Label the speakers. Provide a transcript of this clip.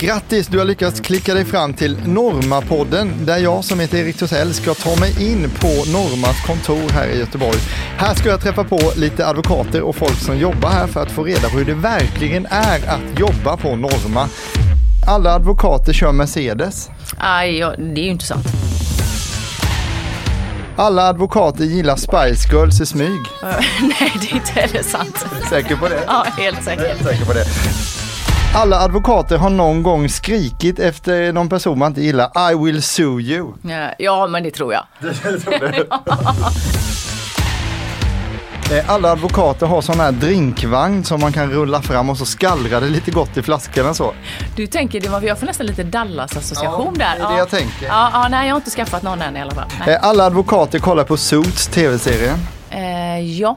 Speaker 1: Grattis, du har lyckats klicka dig fram till Norma-podden där jag som heter Erik Thusell ska ta mig in på Normas kontor här i Göteborg. Här ska jag träffa på lite advokater och folk som jobbar här för att få reda på hur det verkligen är att jobba på Norma. Alla advokater kör Mercedes.
Speaker 2: Aj, ja, det är ju inte sant.
Speaker 1: Alla advokater gillar Spice Girls i smyg.
Speaker 2: Nej, det är inte heller sant.
Speaker 1: Säker på det?
Speaker 2: Ja, helt säkert.
Speaker 1: Helt säker på det. Alla advokater har någon gång skrikit efter någon person man inte gillar. I will sue you.
Speaker 2: Ja, Ja, men det tror jag.
Speaker 1: Eh, Alla advokater har sån här drinkvagn som man kan rulla fram och så skallrar det lite gott i flaskorna så.
Speaker 2: Du tänker, det var, jag får nästan lite Dallas-association
Speaker 1: Ja, det
Speaker 2: där.
Speaker 1: är det jag tänker.
Speaker 2: Ja, ja, nej, jag har inte skaffat någon än i alla fall. Nej.
Speaker 1: Eh, Alla advokater kollar på Suits tv-serien.
Speaker 2: Eh, ja,